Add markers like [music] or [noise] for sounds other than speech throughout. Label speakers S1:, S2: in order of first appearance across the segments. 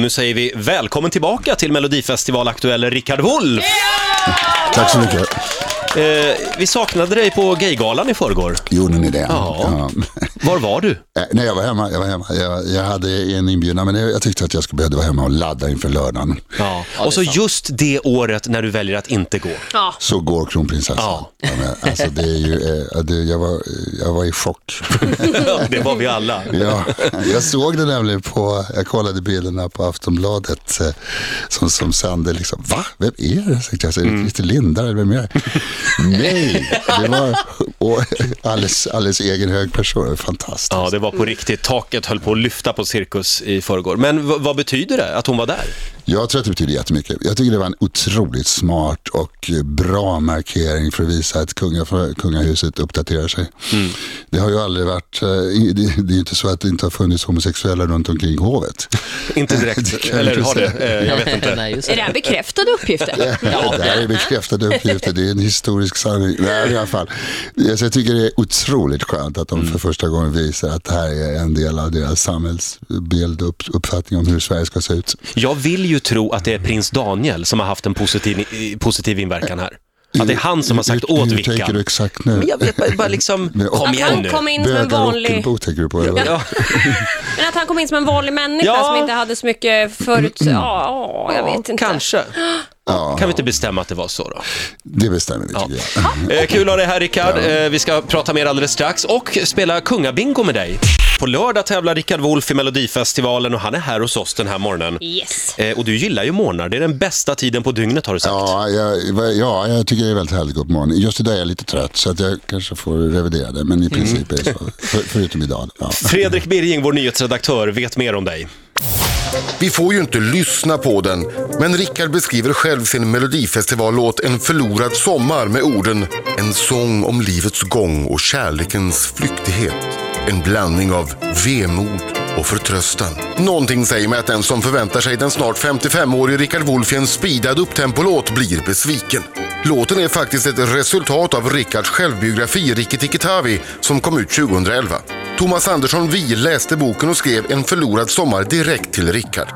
S1: Nu säger vi välkommen tillbaka till Melodifestival aktuell Rickard Wolff!
S2: Tack så mycket.
S1: Eh, vi saknade dig på Gaygalan i förrgår.
S2: Gjorde ni det?
S1: Ja.
S2: Ja.
S1: Var var du?
S2: Eh, Nej, jag var hemma. Jag, var hemma. jag, jag hade en inbjudan, men jag, jag tyckte att jag skulle behöva vara hemma och ladda inför lördagen.
S1: Ja. Och så just det året när du väljer att inte gå. [laughs]
S3: Ja,
S2: Så går kronprinsessan.
S1: Ja.
S2: Ja, men, alltså, det är ju, eh, det, jag, var, jag var i chock.
S1: Det var vi alla.
S2: Ja, jag såg det nämligen på, jag kollade bilderna på Aftonbladet eh, som, som sände liksom, va? Vem är det? Tänkte jag, så, är det Christer Lindar eller vem är det? Nej, det var och, [laughs] alldeles, alldeles egen hög person, fantastiskt.
S1: Ja, det var på riktigt. Taket höll på att lyfta på Cirkus i förrgår. Men v- vad betyder det att hon var där?
S2: Jag tror att det betyder jättemycket. Jag tycker det var en otroligt smart och bra markering för att visa att kunga- kungahuset uppdaterar sig.
S1: Mm.
S2: Det har ju aldrig varit, eh, i- det, det är ju inte så att det inte har funnits homosexuella runt
S1: [laughs]
S2: omkring hovet.
S1: Inte direkt.
S2: Eh, kan jag
S1: Eller
S2: inte
S1: har det?
S2: säga.
S1: Eh, jag vet inte.
S4: Nej, just
S3: är det här bekräftade uppgifter?
S2: Det här är bekräftade uppgifter, det är en historisk sanning. Nej, i alla fall. Så jag tycker det är otroligt skönt att
S1: Mm.
S2: de för första gången visar att det här är en del av deras samhällsbild och upp- uppfattning om hur Sverige ska se ut.
S1: Jag vill ju tro att det är prins Daniel som har haft en positiv, i- positiv inverkan här. Att det är han som har sagt
S2: Hur- hur
S1: åt
S2: tänker du
S1: Vickan.
S2: exakt nu?
S1: Men jag vet bara- bara liksom,
S2: Men-
S1: kom
S3: Att
S1: igen
S3: han
S1: nu.
S3: kom in som en
S2: Bögar och
S3: vanlig...
S2: Ockelbo tänker du på? eller?
S1: Ja.
S3: Men att han kom in som en vanlig människa
S1: Ja.
S3: som inte hade så mycket förut... Ja, åh, jag vet inte.
S1: Kanske. Kan vi inte bestämma att det var så då?
S2: Det bestämmer vi tycker jag.
S1: Eh, kul att ha dig här Rickard. Eh, vi ska prata mer alldeles strax och spela kungabingo med dig. På lördag tävlar Rickard Wolff i Melodifestivalen och han är här hos oss den här morgonen.
S3: Yes.
S1: Eh, och du gillar ju morgnar, det är den bästa tiden på dygnet har du sagt.
S2: Ja, jag, ja, jag tycker det är väldigt härligt att gå upp på morgonen. Just idag är jag lite trött så att jag kanske får revidera det. Men i
S1: Mm.
S2: princip är det så. För, förutom idag. Ja.
S1: Fredrik Birging, vår nyhetsredaktör, vet mer om dig.
S5: Vi får ju inte lyssna på den, men Rickard beskriver själv sin melodifestivallåt En förlorad sommar med orden En sång om livets gång och kärlekens flyktighet. En blandning av vemod och förtröstan. Någonting säger mig att den som förväntar sig den snart 55-årige Rickard Wolff i en speedad upptempolåt blir besviken. Låten är faktiskt ett resultat av Rickards självbiografi Rikki Tikki Tavi som kom ut 2011. Thomas Andersson Vi läste boken och skrev En förlorad sommar direkt till Rickard.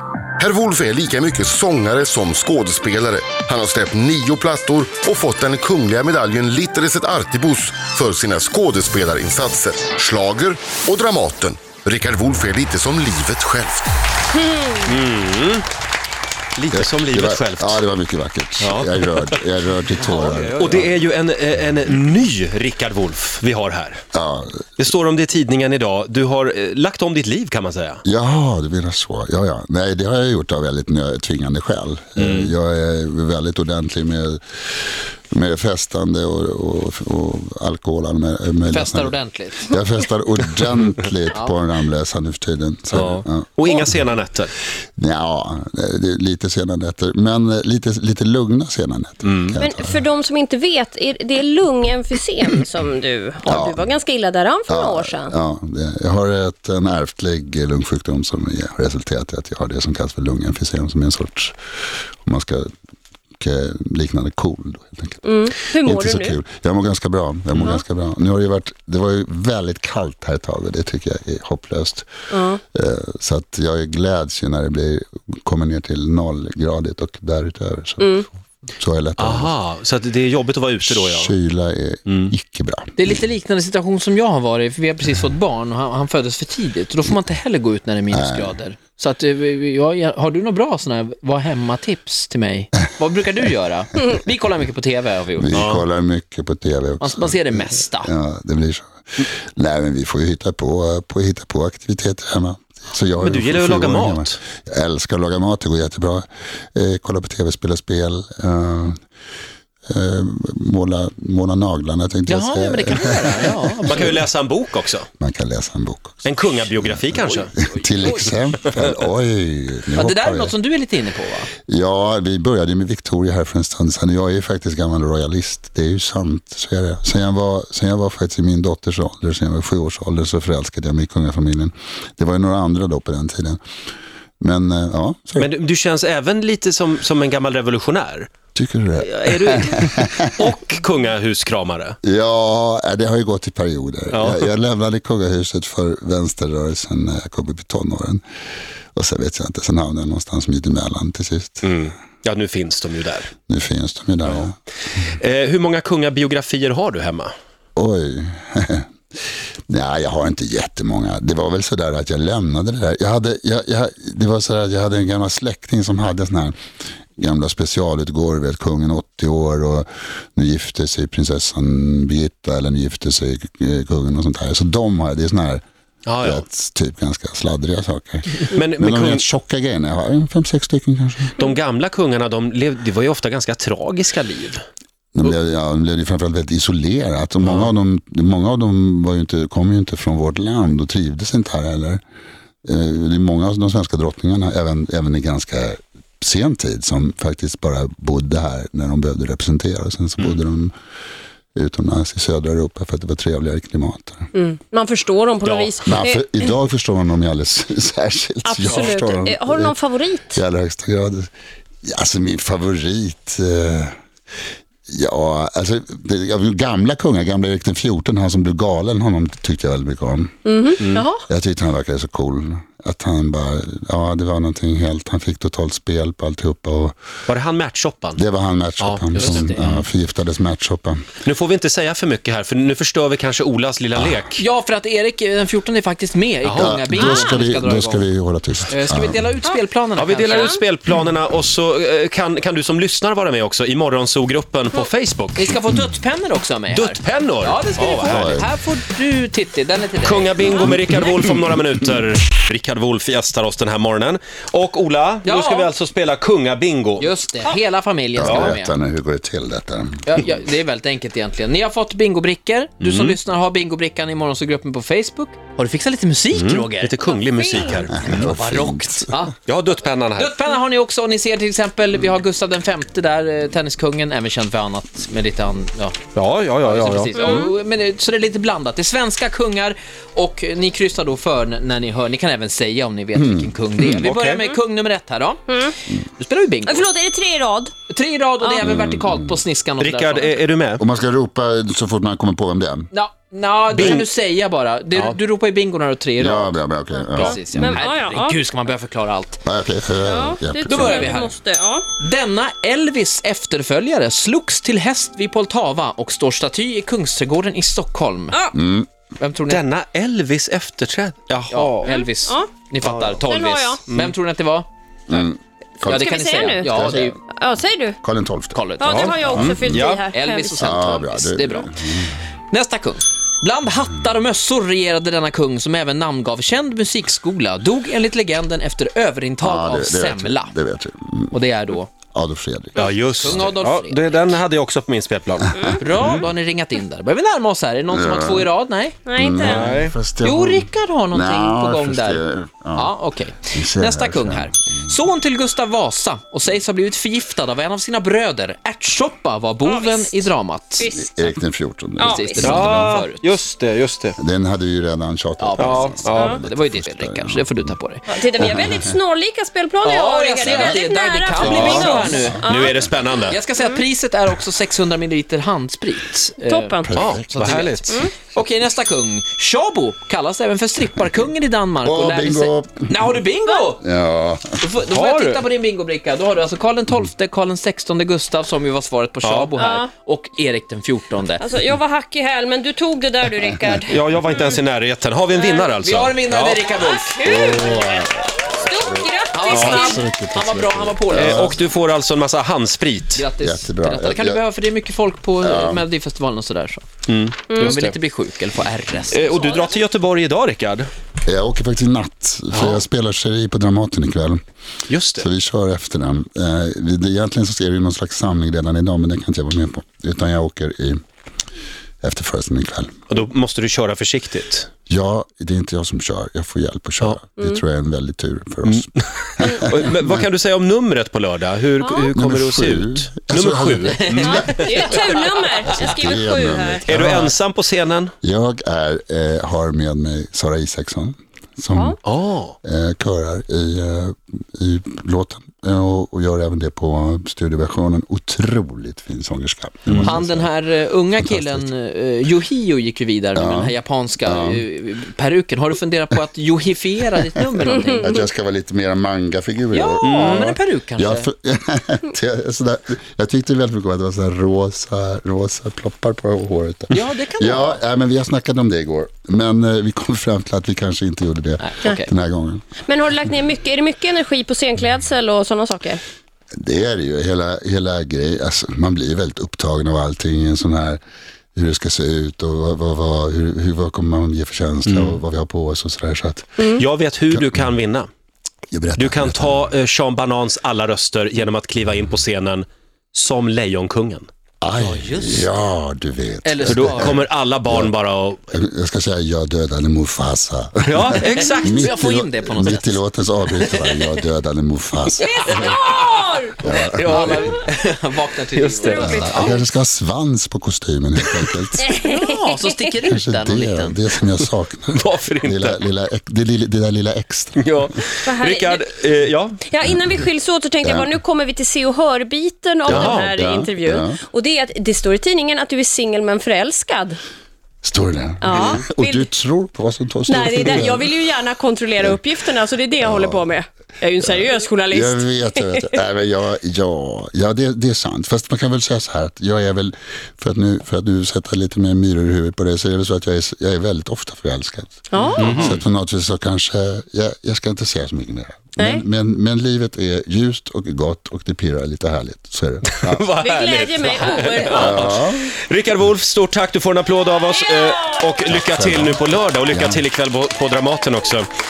S5: Herr Wolf är lika mycket sångare som skådespelare. Han har släppt nio plattor och fått den kungliga medaljen Litteris et Artibus för sina skådespelarinsatser, schlager och Dramaten. Rickard Wolf är lite som livet självt.
S1: Lite som
S2: Det var,
S1: livet självt.
S2: Ja, det var mycket vackert.
S1: Ja.
S2: Jag är rörd. Jag är rörd till tårar.
S1: Och det är ju en, eh, en ny Rickard Wolff vi har här.
S2: Ja.
S1: Det står om det i tidningen idag. Du har eh, lagt om ditt liv kan man säga.
S2: Jaha, du menar så. Ja, ja. Nej, det har jag gjort av väldigt nö- tvingande skäl.
S1: Mm.
S2: Eh, Jag är väldigt ordentlig med, med festande och, och, och alkohol. Med, med
S4: Festar ordentligt.
S1: [laughs]
S2: Jag festar ordentligt på en ramlösa nu för tiden. Så, ja.
S1: Och inga sena nätter.
S2: Ja, det är lite sena nätter, men eh, lite, lite lugna sena nätter. kan jag
S3: Men
S2: ta.
S3: för de som inte vet, är det
S2: [clears throat]
S3: är lungemfysem som du har. Du var ganska illa däran för några år sedan.
S2: Ja, det, jag har ett, en ärftlig eh, lungsjukdom som har resulterat i att jag har det som kallas för lungemfysem, som är en sorts, om man ska k- liknande KOL. då, helt enkelt.
S3: Mm. Hur mår
S2: Inte
S3: du
S2: så
S3: nu?
S2: kul. Jag mår ganska bra. Jag mår ganska bra. Nu har det, ju varit, det var ju väldigt kallt här ett tag och det tycker jag är hopplöst. Eh, Så att jag gläds ju när det blir, kommer ner till nollgradigt och därutöver. Så,
S3: Mm.
S2: så har jag lättare.
S1: Aha, så att det är jobbigt att vara ute då ja. Mm.
S2: Kyla är icke bra.
S4: Det är lite liknande situation som jag har varit i, för vi har precis fått barn och han, han föddes för tidigt. Och då får man inte heller gå ut när det är minusgrader. Så att, eh, vi- jag, jag- har du några bra sådana här var hemma-tips till mig? Vad brukar du göra? Vi kollar mycket på TV har vi gjort.
S2: Vi kollar mycket på tv
S4: Man,
S2: också.
S4: Alltså, man ser det mesta.
S2: Ja, det blir så. Nej, men vi får ju hitta på, på, hitta på aktiviteter hemma. Så jag har
S1: Men du gillar ju att laga
S2: fyraåring hemma.
S1: mat.
S2: Jag älskar att laga mat, det går jättebra. Eh, kolla på tv, spela spel. Eh, eh, måla, måla naglarna tänkte
S4: Jaha,
S2: jag
S4: ja,
S2: säga.
S4: men det kan man göra.
S2: [laughs]
S4: Ja,
S1: Man kan ju läsa en bok också.
S2: Man kan läsa en bok också. [laughs]
S1: En kungabiografi kanske.
S2: Till exempel, oj, nu
S4: Ja, det där
S2: hoppar
S4: är
S2: jag.
S4: något som du är lite inne på va?
S2: Ja, vi började ju med Victoria här för en stund sedan. Jag är ju faktiskt gammal royalist, det är ju sant. Så är det. Sen, jag var, sen jag var faktiskt i min dotters ålder, sen jag var sju års ålder, så förälskade jag mig i kungafamiljen. Det var ju några andra då på den tiden. Men eh, ja, så är det.
S1: Men du, du känns även lite som, som en gammal revolutionär.
S2: Tycker du det?
S1: Är du... [laughs] Och kungahuskramare.
S2: Ja, eh, det har ju gått i perioder.
S1: Ja.
S2: Jag, jag lämnade kungahuset för vänsterrörelsen när jag kom upp i tonåren. Och sen vet jag inte, sen hamnade jag någonstans mitt emellan till sist.
S1: Ja, nu finns de ju där.
S2: Nu finns de ju där. Mm. Ja.
S1: Eh, hur många kungabiografier har du hemma?
S2: Oj. [laughs] Nej, jag har inte jättemånga. Det var väl sådär att jag lämnade det där. Jag hade, jag, jag, det var sådär att jag hade en gammal släkting som hade sådana här gamla specialutgåvor, du vet, kungen 80 år och nu gifte sig prinsessan Birgitta eller nu gifte sig eh, kungen och sånt där. Så de har jag, det är sådana här
S1: Ah, Ja, ja.
S2: rätt, typ ganska
S1: [laughs]
S2: sladdriga saker.
S1: Men, men
S2: Men de
S1: kung,
S2: rent tjocka grejerna, jag har en fem, sex stycken kanske.
S1: de gamla kungarna, de levde, det var ju ofta ganska tragiska liv.
S2: De blev, ja, de blev ju framförallt väldigt isolerat och många av dem, många av dem var ju inte, kom ju inte från vårt land och trivdes inte här heller. Eh, Det är många av de svenska drottningarna, även, även i ganska sen tid, som faktiskt bara bodde här när de behövde representera. Och sen så
S3: Mm.
S2: bodde de utomlands i södra Europa för att det var trevligare klimat. där.
S3: Man förstår dem på något
S1: Ja.
S3: vis.
S2: Men
S3: Mm. Eh,
S2: för, idag förstår man dem ju alldeles [laughs] särskilt. Jag
S3: Absolut.
S2: förstår dem.
S3: Eh, Har du någon favorit?
S2: I allra högsta grad. Ja, Alltså min favorit. Eh, ja, alltså det, ja, gamla kungar, gamla Erik den XIV, han som blev galen, honom tyckte jag väldigt mycket om.
S3: Jaha.
S2: Jag tyckte han verkade så cool. Att han bara, ja det var någonting helt, han fick totalt spel på alltihopa och
S1: Var det han matchoppan?
S2: det var han matchhoppen
S1: Ja, just
S2: som
S4: det.
S2: ja, förgiftades matchhoppen.
S1: Nu får vi inte säga för mycket här, för nu förstör vi kanske Olas lilla lek.
S4: Ja, för att Erik eh, den 14 är faktiskt med i
S2: Ja,
S4: kungabingon.
S2: då ska
S4: som
S2: vi,
S4: dra
S2: då ska
S4: igång.
S2: vi hålla tyst.
S4: Eh, Ska vi dela ut spelplanerna
S1: Ja, vi delar
S4: kanske?
S1: ut spelplanerna och så eh, kan, kan du som lyssnar vara med också i morgonzoo-gruppen på Facebook.
S4: Vi ska få duttpennor också med här.
S1: Duttpennor!
S4: Ja, det ska
S1: Åh,
S4: ni
S1: vad
S4: få.
S1: härligt.
S4: Här får du Titti, den är till dig.
S1: Kungabingo med Rickard Wolff om några minuter. Rickard Wolff gästar oss den här morgonen. Och Ola, nu
S4: Ja.
S1: ska vi alltså spela kungabingo.
S4: Just det, hela familjen ska vara med.
S2: Berätta nu, hur går det till detta?
S4: Ja, ja, det är väldigt enkelt egentligen. Ni har fått bingobrickor. Du som
S1: Mm.
S4: lyssnar har bingobrickan i morgonsågruppen på Facebook. Har du fixat lite musik, Roger?
S1: Mm. Lite kunglig musik här.
S2: Vad
S4: Barockt. Ja.
S1: Jag har duttpennan här.
S4: Duttpenna har ni också och ni ser till exempel, vi har Gustav den femte där, eh, tenniskungen, även känd för annat med lite an... Ja,
S1: Ja, ja, ja. Mm. ja, ja.
S4: precis. Och, men, eh, så det är lite blandat. Det är svenska kungar och eh, ni kryssar då för n- när ni hör. Ni kan även säga om ni
S1: Mm.
S4: vet vilken kung det är. Vi börjar med kung nummer ett här då. Nu spelar vi bingo.
S3: Eh, Förlåt, är det tre i rad?
S4: Tre i rad och
S3: Ah.
S4: det är även vertikalt
S3: Mm.
S4: på sniskan och
S1: Rickard,
S3: eh,
S4: sådär.
S1: är, är du med?
S2: Och man ska ropa så fort man kommer på vem det är?
S4: Ja, no, det kan du säga bara. Du, du ropar i bingo när du har tre i rad.
S2: Ja, bra, bra, okej. Ja.
S4: Precis, ja.
S3: Men, ja, ja, ja.
S4: Herregud, ska man börja förklara allt?
S2: Ja, okej. Ja, ja,
S3: det
S2: precis.
S4: Då
S3: tror
S4: börjar
S3: jag
S4: vi
S3: vi
S4: här.
S3: Måste, ja.
S4: Denna Elvis efterföljare slogs till häst vid Poltava och står staty i Kungsträdgården i Stockholm.
S3: Ja.
S4: Vem tror ni?
S1: Denna Elvis efterträd. Jaha.
S4: Ja, Elvis.
S3: Ja.
S4: Ni fattar,
S3: Den har jag.
S4: Tolvis. Vem tror ni att det var? Mm. Ja, det
S3: Ska
S4: kan
S3: vi
S4: ni
S3: säga
S4: säga.
S3: nu?
S4: Ja, det är ju
S3: ja, säger du?
S2: Mm. Karl XII.
S4: Karl XII.
S3: Ja, det har jag
S2: Mm.
S3: också fyllt
S1: Ja.
S3: i här.
S4: Elvis och sen
S2: Ja,
S4: Tolvis.
S2: bra, Mm. det-
S4: Det är bra. Nästa kung. Bland hattar och mössor regerade denna kung som även namngav känd musikskola, dog enligt legenden efter överintag
S2: Ja,
S4: av
S2: vet
S4: semla.
S2: jag. Det vet jag. Mm.
S4: Och det är då
S2: Adolf Fredrik.
S1: Ja, just
S4: Kung Adolf
S1: ja,
S4: Fredrik. Mm.
S1: det, Den hade jag också på min spelplan.
S4: Bra,
S2: Mm.
S4: då har ni ringat in där. Börjar vi närma oss här. Är det någon som har två i rad? Nej?
S3: Nej, inte
S2: Mm.
S3: än.
S2: Fast jag-
S4: Jo, Rickard har någonting
S2: Nja,
S4: på gång
S2: fast
S4: där.
S2: det-
S4: Ja, okej.
S2: ser
S4: Nästa
S2: här,
S4: kung
S2: ser.
S4: här. Son till Gustav Vasa och sägs ha blivit förgiftad av en av sina bröder. Ärtsoppa var
S3: Ja,
S4: boven
S3: visst.
S4: i dramat.
S3: Visst.
S2: Erik den 14.
S3: Ja.
S4: Precis, det pratade vi om förut.
S1: just det, just det.
S2: Den hade vi ju redan tjatat om.
S4: Ja,
S1: ja.
S4: Det var ju ditt fel, Rickard, så det får du ta på dig.
S3: Ja, Titta, vi har väldigt snarlika spelplaner jag
S4: Ja,
S3: och
S4: jag
S3: Rickard. Det
S4: ser
S3: är
S4: att det,
S3: väldigt
S4: där, det
S3: nära
S4: kan
S3: att
S4: bli
S3: det blir
S4: bingo
S3: bra.
S4: här nu.
S1: Nu är det spännande.
S4: Jag ska säga
S3: Mm.
S4: att priset är också 600 ml handsprit. Eh,
S3: Toppen.
S1: Ja,
S2: Perfekt.
S1: vad
S4: du vet.
S1: härligt.
S4: Mm. Okej, nästa kung. Shabo kallas även för stripparkungen i Danmark.
S2: Åh,
S4: lärde
S2: bingo.
S4: Nej, har du bingo?
S2: Ja.
S4: Då får, då får
S1: Har
S4: jag
S1: du?
S4: titta på din bingobricka. Då har du alltså Karl XII, Karl XVI Gustav som ju var svaret på Shabo här och Erik den XIV.
S3: Alltså, jag var hack i häl, men du tog det där du, Rickard.
S1: Ja, jag var inte ens i närheten. Har vi en vinnare alltså?
S4: Vi har en vinnare, det
S1: Ja.
S4: är Rickard Wolff.
S3: Kul! Stort
S4: Han var
S3: grattis!
S4: snabb,
S3: Rickard.
S4: han var bra, han var påläst.
S1: Eh, Och du får alltså en massa handsprit.
S4: Grattis
S2: Jättebra.
S4: till detta. Det kan du
S2: Jag-
S4: behöva för det är mycket folk på eh, Melodifestivalen och sådär. Så. Mm. Du vill inte bli sjuk eller få RS.
S1: Eh, Och du drar till Göteborg idag, Rickard.
S2: Jag åker faktiskt i natt, för jag spelar seri på Dramaten ikväll.
S1: Just det.
S2: Så vi kör efter den. Eh, vi- det- Egentligen så ser vi någon slags samling redan idag, men det kan inte jag vara med på. Utan jag åker i efter föreställningen ikväll.
S1: Och då måste du köra försiktigt.
S2: Ja, det är inte jag som kör. Jag får hjälp att köra.
S1: Mm.
S2: Det tror jag är en väldig tur för oss.
S1: Och, Men vad kan du säga om numret på lördag? Hur, hur [laughs] kommer
S2: Nummer
S1: det att se
S2: sju.
S1: ut?
S2: Alltså,
S1: Nummer
S2: hade-
S1: sju.
S3: Det är ett turnummer. Jag
S2: Det
S3: skriver
S2: är
S3: sju här.
S2: numret.
S1: Är du ensam på scenen?
S2: Jag är, eh, har med mig Sara Isaksson som
S1: Ja.
S2: eh, körar i, eh, i låten. eh, och, och gör även det på studioversionen. Otroligt fin sångerska. Det
S1: Mm.
S2: måste jag
S4: Han
S2: säga.
S4: den här eh, unga killen, uh, Yohio gick ju vidare med den här japanska eh, peruken. Har du funderat på att johifiera ditt
S2: [laughs]
S4: nummer någonting?
S2: Att jag ska vara lite mer mangafigur. i
S4: Ja,
S2: år.
S1: Mm.
S4: men en peruk kanske.
S2: Jag, Mm. för, [laughs] jag- sådär, jag tyckte väldigt mycket om att det var sådär rosa, rosa ploppar på håret. där.
S4: Ja, det kan det
S2: Ja, nej, men vi har snackat om det igår. Men eh, vi kom fram till att vi kanske inte gjorde det
S4: Nej, okej.
S2: den här gången.
S3: Men har du lagt ner mycket, är det mycket energi på scenklädsel och sådana saker?
S2: Det är det ju, hela, hela grejen. Alltså, man blir väldigt upptagen av allting i en sån här, hur det ska se ut och vad, vad, vad, hur, hur, vad kommer man ge för känsla
S4: Mm.
S2: och vad vi har på oss och sådär. Så att,
S1: Mm. Jag vet hur du kan vinna.
S2: jag berättar,
S1: Du kan
S2: berättar.
S1: ta eh, Sean Banans alla röster genom att kliva in på scenen som Lejonkungen.
S2: Aj, ja, du vet.
S4: Eller
S1: För
S4: så
S1: då kommer alla barn bara och...
S2: Jag, jag ska säga, jag dödade Mufasa.
S1: Ja, exakt.
S4: Så
S2: Mitt
S4: jag får
S2: i-
S4: in det på något
S2: mitt
S4: sätt.
S2: i låten så avbryter jag, jag dödade Mufasa.
S4: Ja, men- [laughs] vaknar till Just
S2: Jag kanske ska ha svans på kostymen helt enkelt.
S4: Ja, som sticker ut
S2: Kanske
S4: där någon
S2: det,
S4: liten.
S2: det som jag saknar.
S1: Varför
S2: Lilla,
S1: inte?
S2: lilla, ex- det, lilla, det där lilla extra.
S1: Ja.
S3: Vad härligt.
S1: Rickard, eh, ja.
S3: Ja, innan vi skiljs åt så tänkte jag bara, nu kommer vi till se och hör-biten av
S1: Ja,
S3: den här
S2: ja,
S3: intervjun.
S2: ja.
S3: Och det är att det står i tidningen att du är singel men förälskad.
S2: Står det där?
S3: Ja.
S2: Och
S3: Vill-
S2: du tror på vad som står står
S3: Nej, det är
S2: på
S3: där. Jag vill ju gärna kontrollera uppgifterna, så det är det jag håller på med. Jag är ju en seriös journalist.
S2: Jag vet, jag vet. Nej, men jag, ja, ja det, det är sant. Fast man kan väl säga så här, att jag är väl, för att nu, för att nu sätta lite mer myror i huvudet på det, så är det väl så att jag är, jag är väldigt ofta förälskad.
S3: Ja.
S2: Så att på något vis så kanske, jag, jag ska inte säga så mycket mer.
S3: Nej.
S2: Men, men, men livet är ljust och gott och det pirrar lite härligt. Så är det. Ja.
S1: Vad
S3: Det glädjer
S1: härligt.
S3: mig oerhört.
S1: Rickard Wolff, stort tack. Du får en applåd av oss. eh, Och lycka till nu på lördag och lycka till ikväll på- på Dramaten också.